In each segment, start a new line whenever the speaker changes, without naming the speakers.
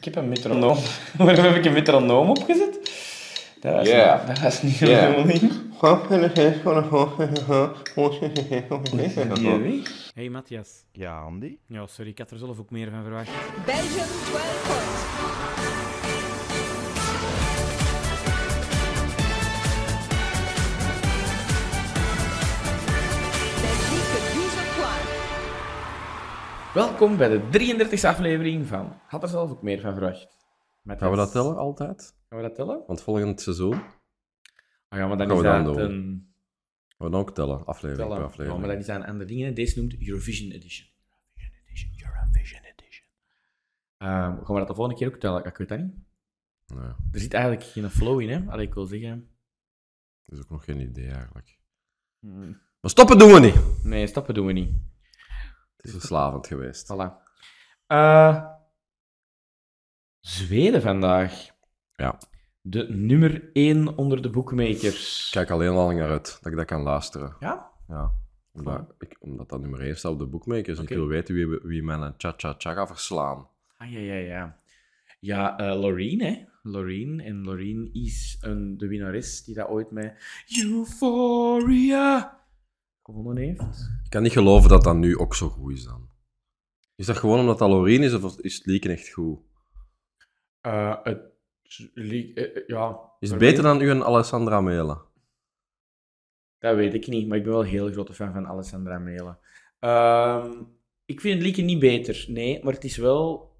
heb een metronoom. Waarom heb ik een metronoom opgezet? Dat is
Ja.
niet, dat is niet
Ja.
helemaal niet. Die weg.
Hey Matthias.
Ja, Andy?
Ja, sorry, ik had er zelf ook meer van verwacht.
Belgium 12 points. Belgique 12 points.
Welkom bij de 33e aflevering van Had er zelf ook meer van verwacht. Met
Gaan we
ons-
dat tellen altijd?
Gaan we dat tellen?
Want volgend seizoen gaan
Oh ja, maar dan
Gaan
is
we Ah, dan
dat
doen.
een...
we dan ook tellen, aflevering
Tellen.
per
Ja,
aflevering.
maar dat is aan andere dingen. Deze noemt Eurovision Edition. Eurovision Edition, Eurovision Edition. Ehm, gaan we dat de volgende keer ook tellen? Ik weet dat niet.
Nee,
Er zit eigenlijk geen flow in, hè? Allee, ik wil zeggen...
dat is ook nog geen idee eigenlijk. Maar stoppen doen we niet!
Nee, stappen doen we niet.
Het is verslavend geweest.
Voilà. Eh, Zweden vandaag.
Ja.
De nummer 1 onder de boekmakers.
Ik kijk alleen al lang naar uit dat ik dat kan luisteren.
Ja?
Ja. Omdat, ik, omdat dat nummer 1 staat op de boekmakers.
Oké.
Ik wil weten wie, wie mijn cha-cha-cha gaat verslaan.
Ah, ja, ja, ja. Ja, eh Loreen, hè. Loreen. En Loreen is een, de winnares die dat ooit met Euphoria gewonnen heeft.
Ik kan niet geloven dat dat nu ook zo goed is dan. Is dat gewoon omdat dat Loreen is of is het Lieken echt goed?
Eh, het, li- eh, eh, ja.
Is
Loreen?
het beter dan u en Alessandra Mela?
Dat weet ik niet, maar ik ben wel een heel grote fan van Alessandra Melen. Ehm, ik vind het liedje niet beter, nee, maar het is wel...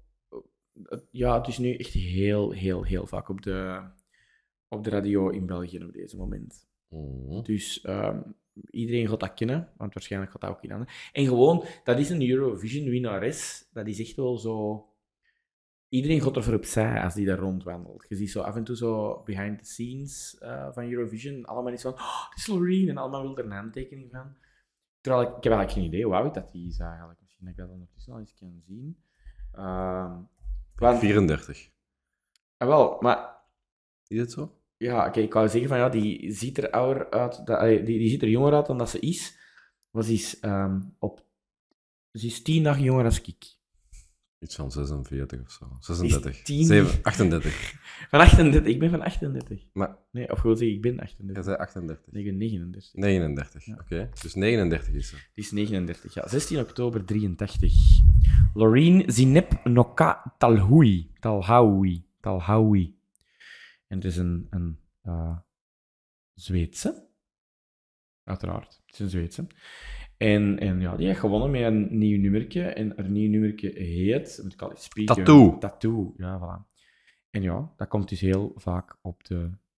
het- Ja, het is nu echt heel, heel, heel vaak op de, op de radio in België op deze moment.
Mhm.
Dus ehm, iedereen gaat dat kennen, want waarschijnlijk gaat dat ook in andere. En gewoon, dat is een Eurovision-winnares. Dat is echt wel zo... Iedereen gaat ervoor opzij als die daar rondwandelt. Je ziet zo af en toe zo behind the scenes eh, van Eurovision. Allemaal is van, oh, het is Loreen. En allemaal wil er een handtekening van. Terwijl ik, ik heb eigenlijk geen idee hoe oud dat die is eigenlijk. Misschien dat ik dat ondertussen al eens kan zien. Ehm want-
34.
Ah, wel, maar
Is het zo?
ja, oké, ik wou zeggen van ja, die ziet er ouder uit, da- allee, die, die ziet er jonger uit dan dat ze is. Maar ze is, ehm, op, ze is tien dagen jonger als ik.
Iets van 46 of zo.
Is
36.
tien-
7, 38.
Van 38, ik ben van 38.
Maar
Nee, of gewoon zeggen, ik ben 38.
jij zei 38.
Nee, ik ben 39.
39,
Ja.
oké. Dus 39 is ze.
Die is 39, ja. 16 oktober 83. Loreen Zineb Noka Talhoui. Talhaoui. Talhaoui. En het is een, een eh, Zweedse. Uiteraard. Het is een Zweedse. En, en ja, die heeft gewonnen met een nieuw nummertje. En haar nieuw nummertje heet... Moet ik al eens spieken?
Tattoo.
Tattoo, ja, voilà. En ja, dat komt dus heel vaak op de...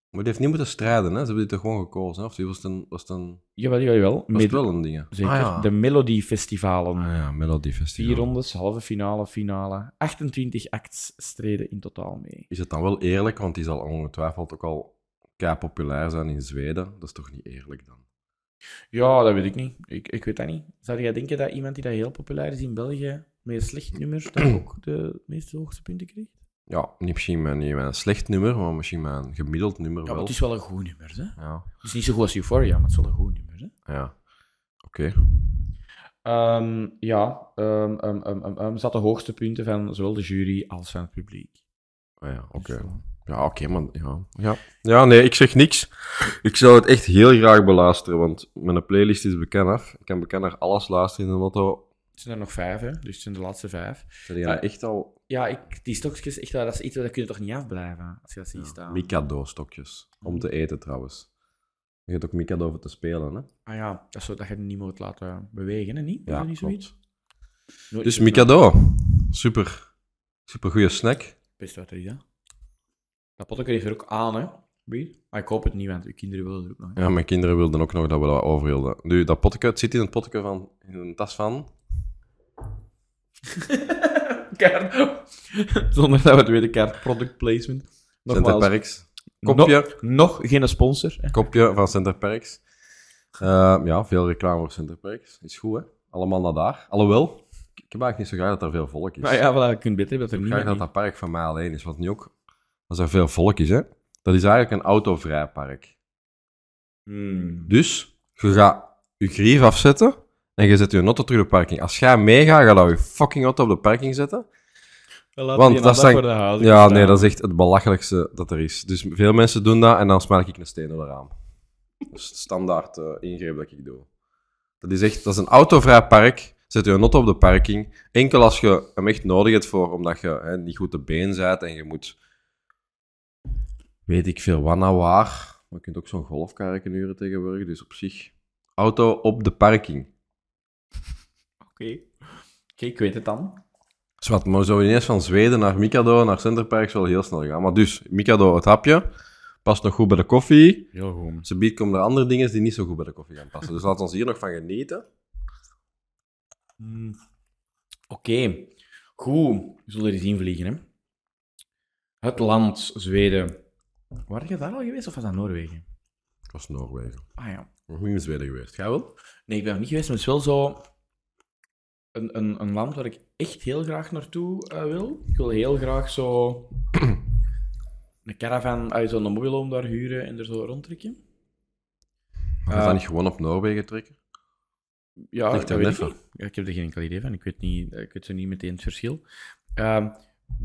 Maar die heeft niet moeten strijden, hè? Ze hebben dit toch gewoon gekozen, hè? Of die was het een... Was het een
Jawel, jawel.
was het
Mid-
wel een ding, hè?
Zeker.
Ah, ja.
De Melody Festivalen.
Ah ja, Melody Festival.
Vier rondes, halve finale, finale. 28 acts streden in totaal mee.
Is het dan wel eerlijk? Want die zal ongetwijfeld ook al kei populair zijn in Zweden. Dat is toch niet eerlijk dan?
Ja, dat weet ik niet. Ik, ik weet dat niet. Zou jij denken dat iemand die dat heel populair is in België met een slecht nummer dat ook de meeste hoogste punten krijgt?
Ja, niet misschien met, niet met een slecht nummer, maar misschien met een gemiddeld nummer
Ja, maar
wel.
het is wel een goed nummer. Hè?
Ja,
Het is niet zo goed als Euphoria, maar het is wel een goed nummer. Hè?
ja. Oké.
Ehm, ja, ehm, ehm, ehm, ehm, ehm, zat de hoogste punten van zowel de jury als van het publiek.
Ah ja, oké.
Dus, eh,
Ja, oké, maar ja. ja. Ja, nee, ik zeg niks. Ik zou het echt heel graag beluisteren, want mijn playlist is bekend af. Ik kan bekend naar alles luisteren in de auto.
Het zijn er nog vijf, hè? dus het zijn de laatste vijf.
Zijn die dan
Ah.
echt al
Ja, ik, die stokjes, echt, waar, dat is iets waar dat kun je toch niet afblijven als je dat ziet staan.
Mikado-stokjes. Om te eten trouwens. Je hebt ook Mikado over te spelen, hè?
Ah ja, dat, is zo, dat je het niet moet laten bewegen, hè? Niet? Is dat niet zoiets? Nooit
Dus
zo'n-
Mikado. Super. Super goede snack.
Best wat er is, hè? Dat potje heeft er ook aan, hè? Wie? Maar ik hoop het niet, want uw kinderen willen er ook nog. hè.
Ja, mijn kinderen wilden ook nog dat we dat overhielden. Nu, dat potje, het zit in het potje van, in een tas van.
Kaart. Zonder dat we het weten, kaart product placement.
Center
Nogmaals,
Parks. Kopje.
no- nog geen sponsor. Hè?
Kopje van Center Parks. Eh, ja, veel reclame voor Center Parks. Is goed, hè? Allemaal naar daar. Alhoewel, ik ik heb eigenlijk niet zo graag dat er veel volk is.
Maar ja, voilà, je kunt beter hebben dat er
ik
niet
heb graag
meer
dat dat park van mij alleen is. Want nu ook, als er veel volk is, hè, dat is eigenlijk een autovrij park.
Hmm.
Dus, je gaat je grief afzetten en je zet je auto terug op de parking. Als jij meegaat, ga je dan je fucking auto op de parking zetten. Want dat zijn-
voor de huizen
Ja,
staan.
nee, dat is echt het belachelijkste dat er is. Dus veel mensen doen dat en dan smaak ik een steen door de raam. Dat is het standaard eh, ingreep dat ik doe. Dat is echt, dat is een autovrij park. Zet je een auto op de parking. Enkel als je hem echt nodig hebt voor, omdat je hè, niet goed te been bent en je moet, weet ik veel, wat nou waar. Maar je kunt ook zo'n golfkarreken huren tegenwoordig, dus op zich. Auto op de parking.
Oké, ik weet het dan.
Zwart, maar zo ineens van Zweden naar Mikado, naar Centerpark zal heel snel gaan. Maar dus, Mikado, het hapje, past nog goed bij de koffie.
Heel goed.
Ze biedt komen er andere dingen die niet zo goed bij de koffie gaan passen. Dus laten we ons hier nog van genieten.
Hmm. Oké, goed. We zullen er eens invliegen, hè. Het land, Zweden. Waar je daar al geweest, of was dat Noorwegen?
Ik was in Noorwegen.
Ah ja.
Nog niet in Zweden geweest. Jij wel?
Nee, ik ben nog niet geweest, maar het is wel zo... Een, een, een land waar ik echt heel graag naartoe eh, wil. Ik wil heel graag zo... een caravan uit zo'n mobielhome daar huren en er zo rondtrekken.
Ga je
Eh,
dan niet gewoon op Noorwegen trekken?
Ja,
Ligt
dat
aan
weet ik,
even.
niet. Ja, ik heb er geen enkel idee van. Ik weet, niet, ik weet zo niet meteen het verschil. Ehm,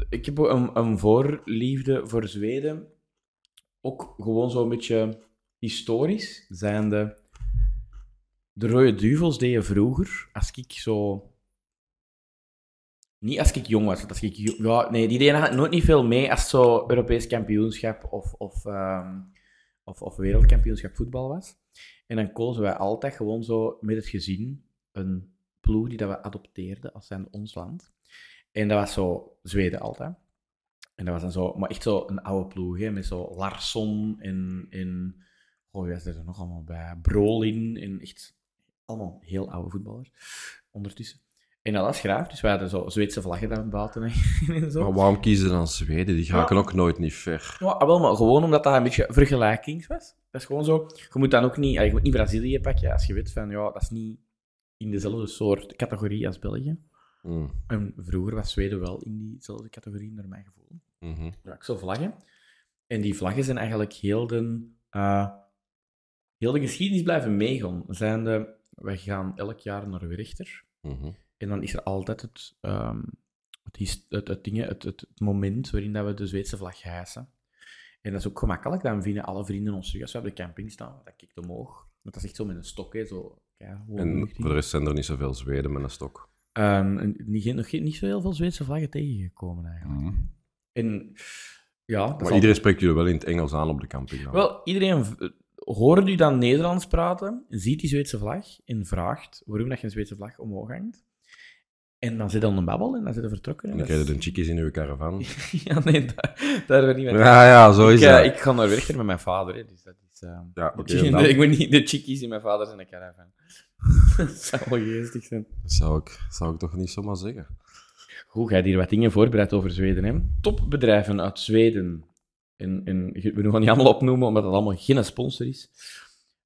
ik heb ook een, een voorliefde voor Zweden. Ook gewoon zo'n beetje historisch. Zijnde, de rode duvels deden vroeger, als ik zo... Niet als ik jong was. want Als ik, jo- ja, nee, die deden nooit niet veel mee als het zo Europees kampioenschap of, of, ehm, of, of wereldkampioenschap voetbal was. En dan kozen wij altijd gewoon zo met het gezin een ploeg die dat we adopteerden als zijn ons land. En dat was zo Zweden altijd. En dat was dan zo, maar echt zo een oude ploeg, hè, met zo Larsson en, en oh, wie was er nog allemaal bij? Brolin en echt allemaal heel oude voetballers ondertussen. En dat was graaf, dus wij hadden zo Zweedse vlaggen daar buiten hè, en zo.
Maar waarom kiezen ze dan Zweden? Die raken ook nooit niet ver.
Ja, ah, wel, maar gewoon omdat dat een beetje vergelijkings was. Dat is gewoon zo. Je moet dan ook niet, ah, je moet niet Brazilië pakken als je weet van, ja, dat is niet in dezelfde soort categorie als België.
Mm.
En vroeger was Zweden wel in diezelfde categorie, naar mijn gevoel.
Mhm.
Ja, ik zo vlaggen. En die vlaggen zijn eigenlijk heel de, eh, heel de geschiedenis blijven meegaan. Zijnde, wij gaan elk jaar naar Werchter.
Mhm.
En dan is er altijd het, ehm, het, his- het, het, dingen, het, het, het moment waarin dat we de Zweedse vlag hijsen. En dat is ook gemakkelijk. Dan vinden alle vrienden ons terug als we op de camping staan. Dat kijkt omhoog. Want dat is echt zo met een stok, hè, zo. Ja, gewoon de
En
lucht in.
voor de rest zijn er niet zoveel Zweden met een stok.
Ehm, en niet, geen- nog geen- niet zo heel veel Zweedse vlaggen tegengekomen eigenlijk. En ja, dat
Mhm. Maar
is al-
iedereen spreekt jullie wel in het Engels aan op de camping. dan.
Wel, iedereen v- hoort u dan Nederlands praten, ziet die Zweedse vlag en vraagt waarom dat je een Zweedse vlag omhoog hangt. En dan zit dan een babbel en dan zit er vertrokken.
en
En
dan
dat
krijg je
is-
de chickies in uw caravan.
Ja, nee, daar, daar ben ik niet mee.
Ja, ja, zo is
ik, eh,
dat.
ik ga naar Werchter met mijn vader, hè, dus dat is... eh,
Ja,
de
oké,
chi-
dan-
ik moet niet de chickies in mijn vader zijn caravan. dat zou wel geestig zijn.
Dat zou ik, zou ik toch niet zomaar zeggen.
Goed, jij hebt hier wat dingen voorbereid over Zweden, hè? Topbedrijven uit Zweden. En, en je- we gaan niet allemaal opnoemen, omdat dat allemaal geen sponsor is.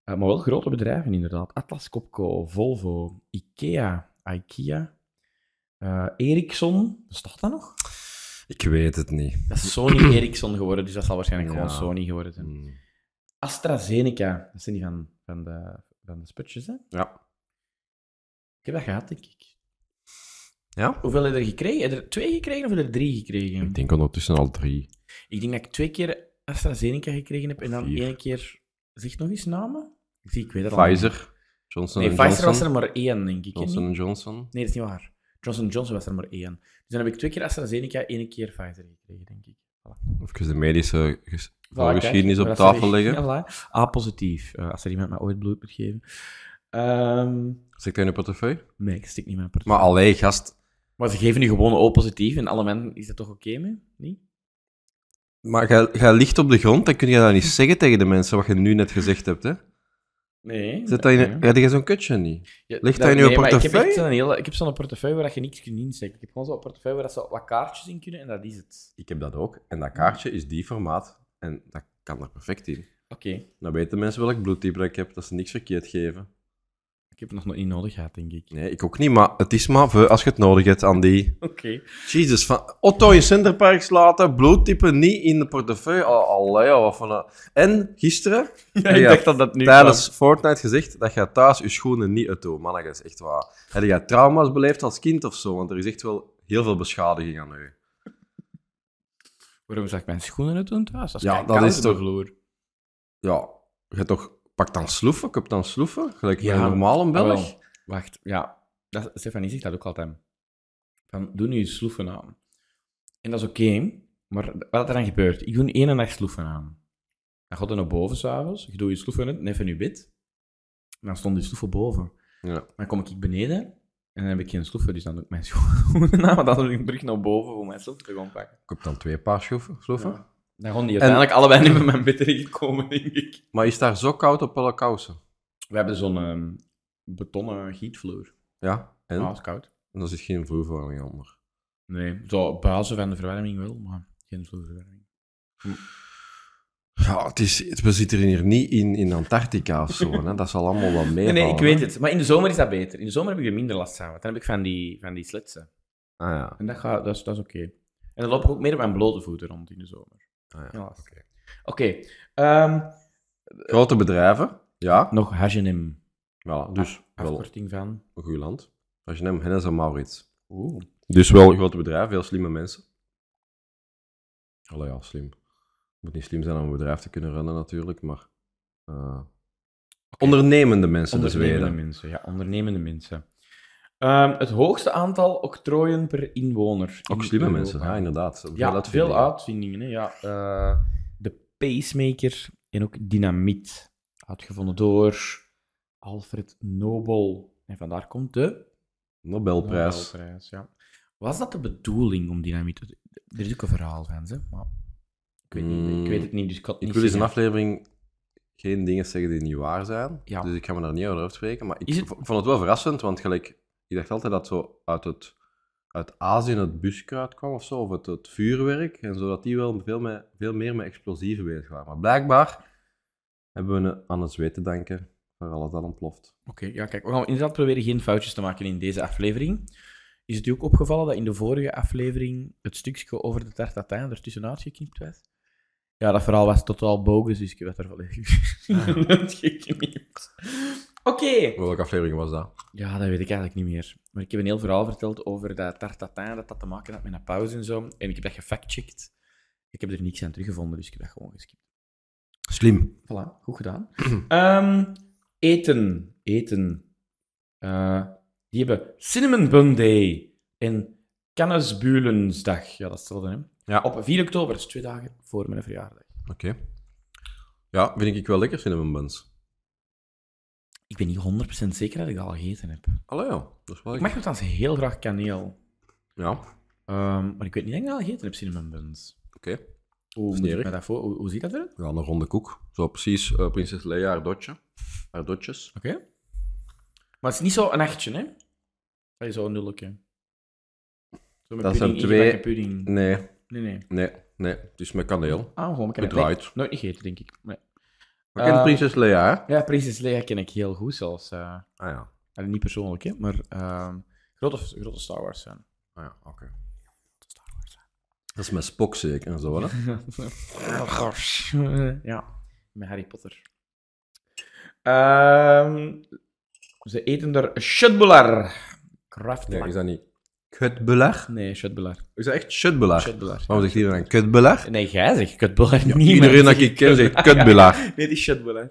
Eh, maar wel grote bedrijven, inderdaad. Atlas Copco, Volvo, Ikea, IKEA, eh, Ericsson. Bestaat dat nog?
Ik weet het niet.
Dat is Sony Ericsson geworden, dus dat zal waarschijnlijk
Ja.
gewoon Sony geworden zijn.
Hmm.
AstraZeneca. Dat zijn die van, van, de, van de sputjes, hè?
Ja.
Ik heb dat gehad, denk ik.
Ja?
Hoeveel heb je er gekregen? Heb je er twee gekregen of heb je er drie gekregen?
Ik denk ondertussen al drie.
Ik denk dat ik twee keer AstraZeneca gekregen heb en dan
Vier.
één keer... Zeg nog eens namen? Ik, zie, ik weet het al. niet.
Pfizer, Johnson
Nee,
Johnson.
Pfizer was er maar één, denk ik. hè, niet?
Johnson Johnson.
Nee, dat is niet waar. Johnson Johnson was er maar één. Dus dan heb ik twee keer AstraZeneca, één keer Pfizer gekregen, denk ik.
Even de medische ges-
Voilà,
voorgeschiedenis
kijk,
op
maar dat
tafel
is weer-
leggen.
Ja, voilà. A positief, eh, als er iemand mij ooit bloed moet geven. Ehm,
Zit dat in je portefeuille?
nee, ik stik niet mijn portefeuille.
Maar allee, gast.
Maar ze geven nu gewoon O positief en alle mensen is dat toch oké mee? Niet?
Maar jij- jij ligt op de grond, dan kun je dat niet zeggen tegen de mensen wat je nu net gezegd hebt. Hè?
Nee.
Zit dat in, Heb jij zo'n kutje niet?
Ja,
Ligt dat in uw
maar Ik heb,
portefeuille?
echt zo'n hele- ik heb zo'n portefeuille waar dat je niks kunt insteken. Ik heb gewoon zo'n portefeuille waar dat zo wat kaartjes in kunnen en dat is het.
Ik heb dat ook. En dat kaartje is die formaat. En dat kan er perfect in.
Oké.
Dan weten mensen welk bloedtype dat ik heb, dat ze niks verkeerd geven.
Ik heb het nog nooit niet nodig gehad, denk ik.
Nee, ik ook niet, maar het is maar voor als je het nodig hebt aan die.
Oké.
Jezus, van Otto in Centerparks laten, bloedtype niet in de portefeuille. Oh, allee, joh, wat van een... En gisteren,
Ja,
ik dacht
dat dat nu
tijdens Fortnite gezegd, dat je thuis je schoenen niet uitdoet. Man, dat is echt waar. Heb je trauma's beleefd als kind of zo? Want er is echt wel heel veel beschadiging aan u.
Waarom zag ik mijn schoenen uit doen thuis? Dat is,
Ja,
kei
dat
koud
is
op de
toch-
vloer.
Ja, je toch... Pak dan sloeven, ik heb dan sloeven. Gelijk
Ja,
een normale
Ah, wel.
Belg.
Wacht, ja. Dat, Stefanie zegt dat ook altijd. Van, doe nu je sloeven aan. En dat is oké, maar wat er dan gebeurt? Ik doe één nacht sloeven aan. Dan gaat je naar boven s'avonds, je doet je sloeven uit, even in je bed. En dan stond die sloeven boven.
Ja.
Dan kom ik beneden en dan heb ik geen sloeven, dus dan doe ik mijn schoenen aan, maar dan doe ik terug naar boven om mijn sloeven te gaan pakken.
Ik heb dan twee paar sloeven. sloeven.
Ja. Dan gaan die uiteindelijk allebei niet met mijn bed terechtkomen, denk ik.
Maar is daar zo koud op alle kousen?
We hebben zo'n ehm, betonnen gietvloer.
Ja, en?
Ah, is koud.
En er zit geen vloerverwarming onder.
Nee, zo op basis van de verwarming wel, maar geen vloerverwarming.
Ja, het is, het- we zitten hier niet in, in Antarctica of zo. Hè. Dat zal allemaal wel
Nee,
meevallen.
nee, ik weet
hè.
het. Maar in de zomer is dat beter. In de zomer heb ik er minder last van, want dan heb ik van die, van die slitsen.
Ah ja.
En dat, gaat, dat is, dat is oké. En dan loop ik ook meer op mijn blote voeten rond in de zomer.
Ah, ja.
Helaas. Oké, ehm,
Grote bedrijven, ja.
nog H&M.
Voilà, dus
Ah,
wel
Afkorting van...
een goed land. Als je neemt Hennis en Maurits.
Oeh.
Dus wel een grote bedrijf, veel slimme mensen. Allee, ja, slim. Het moet niet slim zijn om een bedrijf te kunnen runnen natuurlijk, maar... eh, Ondernemende mensen, dus
Ondernemende
weer.
mensen, ja, ondernemende mensen. Ehm, het hoogste aantal octrooien per inwoner.
Ook
in
slimme
Europa.
mensen, ja, inderdaad.
Ja,
uitvindingen.
veel uitvindingen. Hè? Ja, eh, de pacemaker en ook dynamiet. Uitgevonden door Alfred Nobel. En vandaar komt de
Nobelprijs.
Nobelprijs, ja. Was dat de bedoeling om dynamiet te... Er is ook een verhaal van, hè? maar ik weet, niet,
Mm.
ik weet het niet, dus ik kan het
Ik
niet
wil eens een
zeggen.
aflevering geen dingen zeggen die niet waar zijn.
Ja.
Dus ik ga me daar niet over uitspreken. Maar ik
Is het-
v- vond het wel verrassend, want gelijk, ik dacht altijd dat zo uit, het, uit Azië het buskruid kwam of zo, of het, het vuurwerk. En zodat die wel veel, met, veel meer met explosieven bezig waren. Maar blijkbaar hebben we een- aan het zweet te danken waar alles dan ontploft.
Oké, ja, kijk, we gaan inderdaad proberen geen foutjes te maken in deze aflevering. Is het u ook opgevallen dat in de vorige aflevering het stukje over de tartatijn ertussenuit geknipt werd? Ja, dat verhaal was totaal bogus, dus ik heb dat er volledig uit geknipt. Oké.
Welke aflevering was dat?
Ja, dat weet ik eigenlijk niet meer. Maar ik heb een heel verhaal verteld over dat tartatijn, dat dat te maken had met een pauze en zo. En ik heb dat gefactcheckt. Ik heb er niks aan teruggevonden, dus ik heb dat gewoon geskipt.
Slim.
Voilà, goed gedaan. Ehm, eten. Eten. Eh, die hebben Cinnamon Bun Day en Cannabulensdag. Ja, dat is hetzelfde, hè?
Ja.
Op 4 oktober, dat is twee dagen voor mijn verjaardag.
Oké. Ja, vind ik wel lekker, cinnamon buns.
Ik ben niet 100% zeker dat ik dat al gegeten heb.
Allee, ja. Dat is wel
Ik mag nogthans heel graag kaneel.
Ja, oké.
Ehm, maar ik weet niet dat ik dat al gegeten heb, Cinnamon Buns. Hoe, moet ik
Smerig.
me dat voor, hoe, hoe ziet dat eruit?
Ja, een ronde koek. Zo precies eh, prinses Leia haar dotje. Haar dotjes.
Oké. Maar het is niet zo een achtje, hè? Dat is zo'n nulletje. Zo met
Dat zijn
pudding,
twee-
ingebakken pudding.
Nee,
Nee, nee.
nee, nee. Het is met kaneel.
Ah, gewoon bekend.
Gedraaid.
Nee, nooit niet gegeten, denk ik. Nee.
We kennen
Eh,
prinses Leia, hè?
Ja, Prinses Leia ken ik heel goed zelfs. eh.
Ah ja.
Allee, niet persoonlijk, hè, maar ehm, grote, grote Star Wars fan.
Ah ja, oké. Dat is met Spock zeker en zo, hè?
ja, met Harry Potter. Ehm, ze eten er shutbular.
Nee, is
Kraftlag.
dat niet kutbelag?
Nee, shutbular.
Is dat echt shutbelag?
Shutbular.
Waarom zegt iedereen kutbelag?
Nee, jij zegt kutbular. niet
Iedereen dat ik ken zegt kutbelag.
Nee, die shutbular.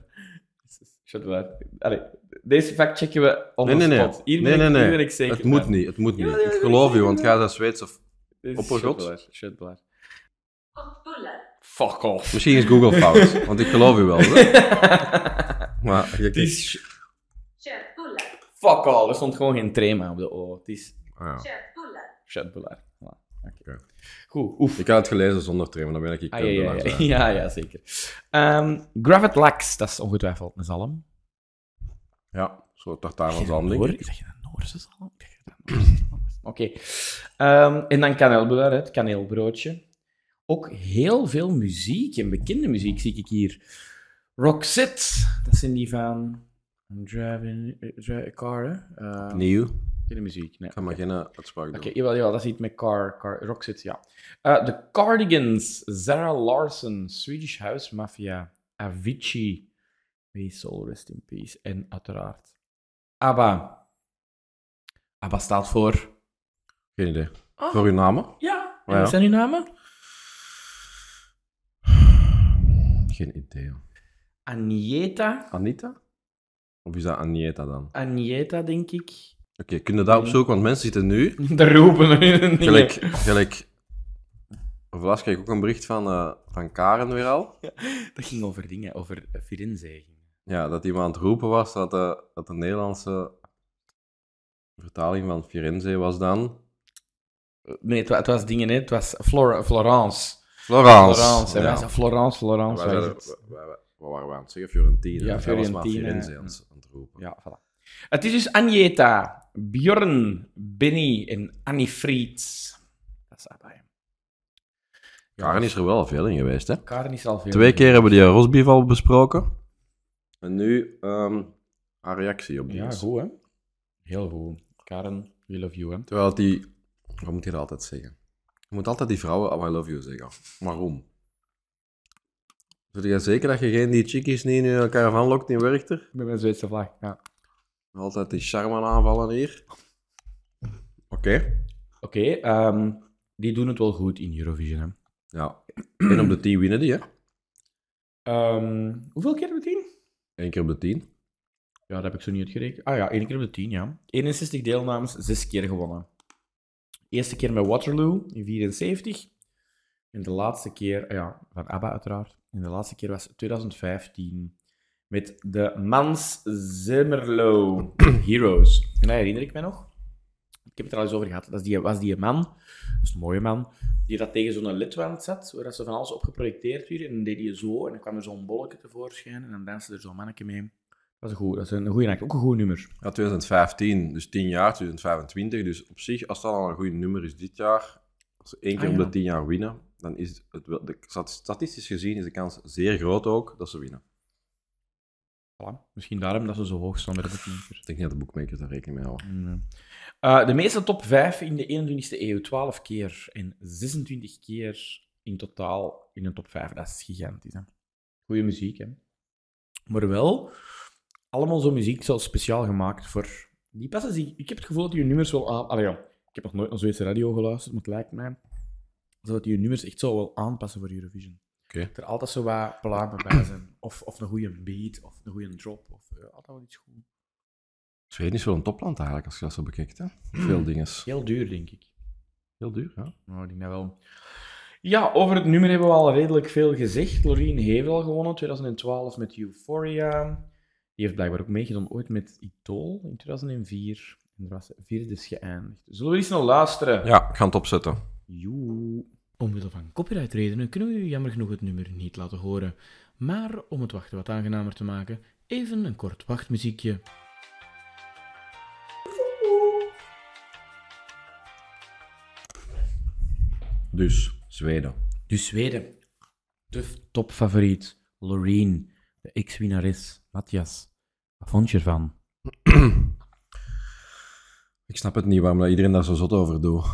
Shutbular. Allee, deze fact checken we on
Nee,
the
nee, nee.
spot. Hier
Nee,
ben
nee,
ik- hier ben
nee.
ik zeker
Het moet
van.
niet, het moet niet.
Ja, ja,
Ik
ja,
geloof
ja,
u,
ja.
want jij bent Zweeds of...
Dit is
Oppergod?
Shutbular, Shutbular. Fuck off.
Misschien is Google fout, want ik geloof u wel, hè? Maar... kijk,
Het is... Fuck all, er stond gewoon geen trema op de O. Het is
ah, ja.
Shutbular. Voilà.
Oké.
Goed, oef.
Ik had het gelezen zonder trainen, dan ben ik
Ah, ja, ja, ja.
kutbelag. hè.
ja, ja, zeker. Ehm Gravet Lax, dat is ongetwijfeld een zalm.
Ja, zo tartaar van
Is dat
zalm,
een
denk
Noor-
ik.
Is dat een Noorse zalm? Ik dacht dat dat een Noorse zalm was. Oké. Ehm, en dan kaneelbular, hè, het kaneelbroodje. Ook heel veel muziek en bekende muziek zie ik hier. Roxette, dat zijn die van... I'm driving eh, drive a car, hè? Ehm,
Nieuw. Ik
Geen muziek, nee.
ga maar geen eh, uitspraak doen.
Oké, jawel, jawel, dat is iets met car, car Roxette, ja. Eh, De Cardigans, Zara Larson, Swedish House Mafia, Avicii, May Soul Rest in Peace, en uiteraard ABBA. ABBA staat voor...
Geen idee.
Ah.
Voor uw namen?
Ja, en
Ja.
wat zijn uw namen?
geen idee. hoor.
Anieta?
Anita? Of is dat Anieta dan? Oké,
Anieta, denk ik.
kun je dat opzoeken? Want mensen zitten nu...
Daar roepen we in een
Gelijk...
ding.
gelijk of laatst kreeg ik ook een bericht van, eh, van Karen weer al.
Dat ging over dingen, over eh, Firenze.
Ja, dat iemand aan het roepen was dat de, dat de Nederlandse vertaling van Firenze was dan...
Nee, het, wa- het was dingen, hè. het was Flor- Florence.
Florence.
Florence, hè.
Ja.
Wij zijn Florence,
Wij
Florence. wij
zeiden-
zijn-
wij- wij- Wat waren we aan het zeggen? Fiorentina.
Ja,
Ja, Fiorentina.
Fiorentina,
Firenze
ja.
aan het- aan het roepen.
Ja, voilà. Het is dus Agneta, Bjorn, Benny en Annie Frieds. Dat staat bij hem.
Karen is er wel veel in geweest, hè?
Karen is al veel.
Twee keer hebben we die rosbief al besproken. En nu ehm haar reactie op die.
Ja,
is.
goed, hè? Heel goed. Karen, we love you, hè?
Terwijl die... Wat moet je dat altijd zeggen? Je moet altijd die vrouwen oh, I love you zeggen. Waarom? Zit jij zeker dat je geen die chickies niet in je caravan lokt in Werchter?
Met mijn Zweedse vlag, ja.
Altijd die charme aanvallen hier. Oké.
Oké, ehm, die doen het wel goed in Eurovision, hè?
Ja. Eén op de tien winnen die, hè?
Ehm, hoeveel keer hebben we tien?
Eén keer op de tien.
Ja, dat heb ik zo niet uitgerekend. Ah ja, één keer op de tien, ja. 61 deelnames, zes keer gewonnen. Eerste keer met Waterloo in 74. En de laatste keer, ah ja, van ABBA uiteraard. En de laatste keer was 2015 met de Mans Zemmerlo Heroes. En dat herinner ik mij nog. Ik heb het er al eens over gehad. Dat is die, was die man, dat is een mooie man, die dat tegen zo'n lidwand zat, waar dat ze van alles op geprojecteerd werden. En dan deed hij zo, en dan kwam er zo'n bolletje tevoorschijn, en dan danste er zo'n manneke mee. Dat is goed, dat is een goede act. Ook een goed nummer.
Ja, 2015, dus 10 jaar, 2025. Dus op zich, als dat al een goed nummer is dit jaar, als ze één keer
Ah,
op
ja.
de 10 jaar winnen, dan is het wel, de, stat- statistisch gezien is de kans zeer groot ook dat ze winnen.
Voilà. Misschien daarom dat ze zo hoog staan bij de boekmaker.
Ik denk niet dat de boekmakers daar rekening mee houden.
Eh, de meeste top 5 in de 21ste eeuw, 12 keer en 26 keer in totaal in een top 5. Dat is gigantisch. Hè? Goeie muziek, hè? Maar wel, allemaal zo'n muziek zo speciaal gemaakt voor die passen. zich- Ik heb het gevoel dat die hun nummers wel aan. Allee, ja, ik heb nog nooit naar Zweedse radio geluisterd, maar het lijkt mij dat die hun nummers echt zo wel aanpassen voor Eurovision.
Oké.
Dat er altijd zo wat platen bij zijn. Of, of een goede beat, of een goede drop, of eh, altijd wel iets goed.
Zweden is wel een topland eigenlijk, als je dat zo bekijkt. Hè? Veel dingen.
Heel duur, denk ik.
Hmm. Heel duur, ja.
Nou, ik denk dat wel. Ja, over het nummer hebben we al redelijk veel gezegd. Lorien heeft al gewonnen, 2012 met Euphoria. Die heeft blijkbaar ook meegedaan ooit met Idol in 2004. En daar was ze vierde dus geëindigd. Zullen we eens naar luisteren?
Ja, ik ga het opzetten.
Joe.
Omwille van copyrightredenen kunnen we u jammer genoeg het nummer niet laten horen. Maar om het wachten wat aangenamer te maken, even een kort wachtmuziekje.
Dus, Zweden.
Dus Zweden. De topfavoriet. Loreen. De ex-winnares. Matthias. Wat vond je ervan?
Ik snap het niet waarom dat iedereen daar zo zot over doet.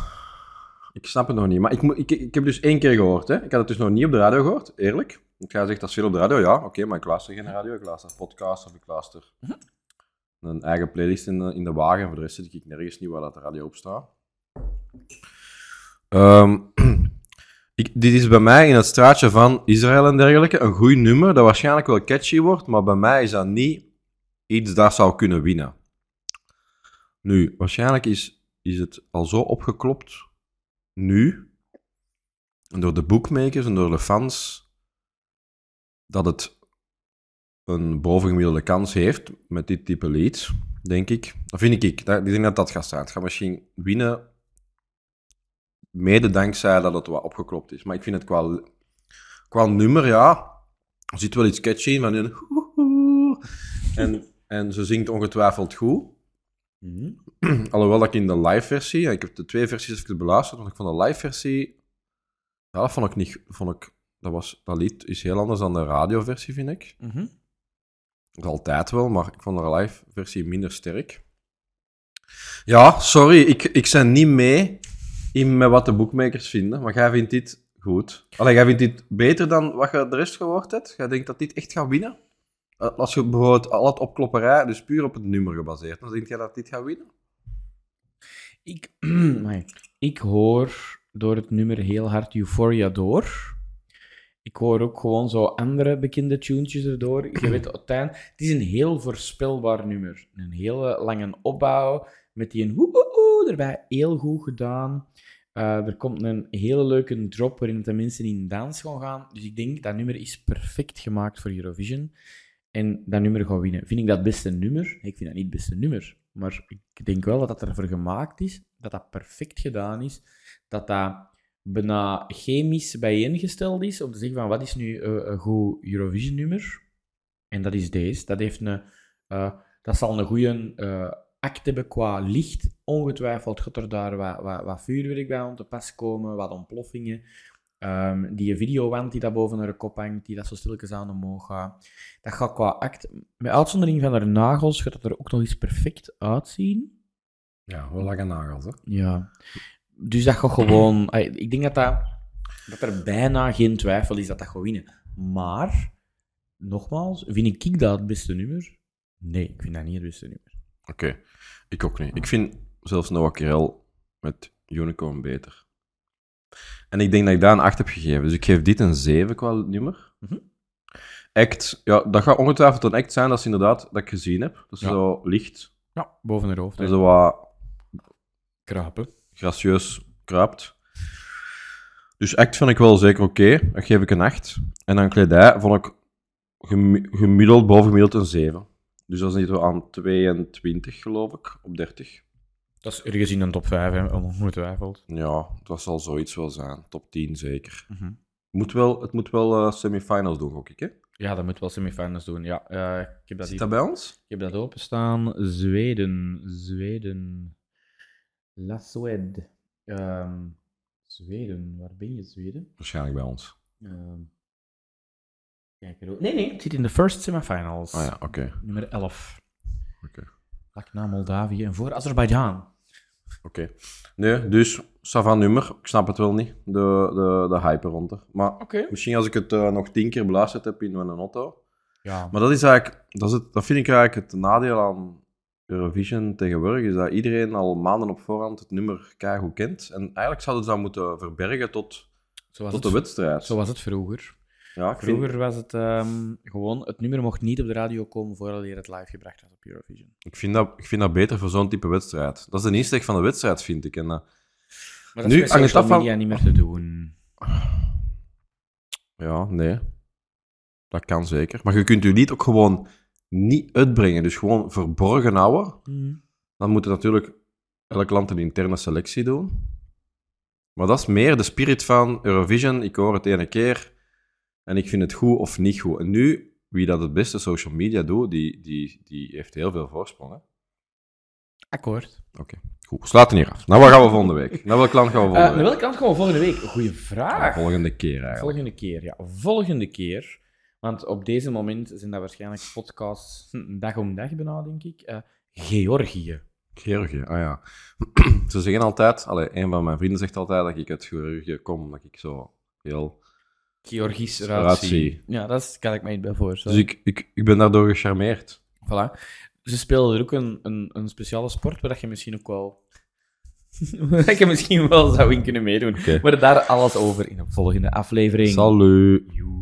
Ik snap het nog niet. Maar ik, moet- ik, ik heb dus één keer gehoord. Hè. Ik had het dus nog niet op de radio gehoord, eerlijk. Want jij zegt dat is veel op de radio. Ja, oké, maar ik luister geen radio. Ik luister podcasts of ik luister een eigen playlist in de, in de wagen. Voor de rest zit ik nergens niet waar dat de radio op staat. Ehm, ik, dit is bij mij in het straatje van Israël en dergelijke een goed nummer dat waarschijnlijk wel catchy wordt, maar bij mij is dat niet iets dat zou kunnen winnen. Nu, waarschijnlijk is, is het al zo opgeklopt nu, en door de bookmakers en door de fans, dat het een bovengemiddelde kans heeft met dit type lied, denk ik. Dat vind ik. ik. Dat, ik denk dat dat gaat staan. Het gaat misschien winnen, mede dankzij dat het wat opgeklopt is. Maar ik vind het qua, qua nummer, ja, er zit wel iets catchy in van een hoehoe. En, en ze zingt ongetwijfeld goed. Alhoewel dat ik in de live versie, ja, ik heb de twee versies even beluisterd, want ik vond de live versie, ja, dat vond ik niet, vond ik, dat, was, dat lied is heel anders dan de radioversie, vind ik. Dat is altijd wel, maar ik vond de live versie minder sterk. Ja, sorry, ik, ik ben niet mee in met wat de boekmakers vinden, maar jij vindt dit goed. Allee, jij vindt dit beter dan wat je de rest gehoord hebt? Jij denkt dat dit echt gaat winnen? Eh, Als je bijvoorbeeld al het opklopperij, dus puur op het nummer gebaseerd, dan denk jij dat dit gaat winnen?
Ik, Amai. ik hoor door het nummer heel hard Euphoria door. Ik hoor ook gewoon zo andere bekende tunes erdoor. Je weet het eind. Het is een heel voorspelbaar nummer. Een hele lange opbouw met die een hoe, hoe, hoe erbij. Heel goed gedaan. Eh, er komt een hele leuke drop waarin de mensen in dans gaan gaan. Dus ik denk dat nummer is perfect gemaakt voor Eurovision. En dat nummer gaan winnen. Vind ik dat het beste nummer? Ik vind dat niet het beste nummer. Maar ik denk wel dat dat ervoor gemaakt is. Dat dat perfect gedaan is. Dat dat bijna chemisch bijeengesteld is. Om te zeggen van wat is nu eh, een goed Eurovision nummer? En dat is deze. Dat, heeft een, eh, dat zal een goede eh act hebben qua licht. Ongetwijfeld gaat er daar wat, wat, wat vuurwerk bij om te pas komen. Wat ontploffingen. Ehm, die videowand die daar boven haar kop hangt, die dat zo stilletjes aan omhoog gaat. Dat gaat qua act, met uitzondering van haar nagels, gaat dat er ook nog eens perfect uitzien.
Ja, wel lange nagels, hè?
Ja. Dus dat gaat gewoon... ai, Ik denk dat, dat, dat er bijna geen twijfel is dat dat gaat winnen. Maar, nogmaals, vind ik dat het beste nummer? Nee, ik vind dat niet het beste nummer.
Oké, ik ook niet. Ik vind zelfs Noah Kirel met Unicorn beter. En ik denk dat ik daar een 8 heb gegeven. Dus ik geef dit een 7 qua nummer.
Mhm.
Act, ja, dat gaat ongetwijfeld een act zijn, dat is inderdaad dat ik gezien heb. Dat is
Ja.
zo licht,
Ja, boven haar hoofd.
dat zo wat
Krapen.
gracieus kruipt. Dus act vind ik wel zeker oké, dat geef ik een 8. En dan kledij vond ik gemi- gemiddeld, boven gemiddeld een 7. Dus dat is niet zo aan 22 geloof ik, op 30.
Dat is ergens in een top 5, hè, ongetwijfeld.
Ja, dat zal zoiets wel zijn. Top 10 zeker.
Mhm.
Moet wel, het moet wel eh, semifinals doen, gok ik. Hè?
Ja, dat moet wel semifinals doen. Ja, eh, ik, heb dat
Zit
hier,
dat bij ons?
ik heb dat openstaan. Zweden. Zweden. La Suède. Ehm, Zweden. Waar ben je, Zweden?
Waarschijnlijk bij ons.
Ehm, kijk er ook- Nee, nee, het zit in de first semifinals.
Ah ja, oké.
Nummer 11.
Oké.
Vlak na Moldavië en voor Azerbeidzjan.
Oké. Nee, dus Savan nummer. Ik snap het wel niet, de, de, de hype rond er. Maar
Oké.
misschien als ik het eh, nog tien keer beluisterd heb in mijn auto.
Ja,
Maar dat is eigenlijk, dat, is het, dat vind ik eigenlijk het nadeel aan Eurovision tegenwoordig, is dat iedereen al maanden op voorhand het nummer keigoed kent. En eigenlijk zouden ze dat moeten verbergen tot,
zo was,
tot de
het,
wedstrijd.
zo was het vroeger.
ja, ik vind-
Vroeger was het ehm, gewoon, het nummer mocht niet op de radio komen voordat je het live gebracht had op Eurovision.
Ik vind, dat, ik vind dat beter voor zo'n type wedstrijd. Dat is de insteek van de wedstrijd, vind ik. En, eh,
Maar
Nu
bij
hangt het
social
af van-
media niet meer te doen.
ja, nee. Dat kan zeker. Maar je kunt je lied ook gewoon niet uitbrengen. Dus gewoon verborgen houden.
Hm.
Dan moet het natuurlijk elk land een interne selectie doen. Maar dat is meer de spirit van Eurovision. Ik hoor het ene keer en ik vind het goed of niet goed. En nu, wie dat het beste social media doet, die, die, die heeft heel veel voorsprong. Hè?
Akkoord.
Goed, sluit het hier af. Nou, wat gaan we volgende week? Naar welk land gaan we
Eh, naar
volgende week?
welke kant gaan we volgende week? Goeie vraag.
Volgende keer eigenlijk.
Volgende keer, ja. Volgende keer. Want op deze moment zijn dat waarschijnlijk podcasts hm, dag om dag bijna, denk ik. Eh, Georgië.
Georgië, ah ja. Ze zeggen altijd, allee, een van mijn vrienden zegt altijd dat ik uit Georgië kom, dat ik zo heel...
Georgisch
Ratie.
ratie. Ja, dat is- kan ik mij niet bij
Dus
voorstellen.
ik, ik, ik ben daardoor gecharmeerd.
Voilà. Ze speelden er ook een, een, een speciale sport waar dat je misschien ook wel... dat je misschien wel zou in kunnen meedoen.
Oké.
Maar daar alles over in de volgende aflevering.
Salut!
Joe.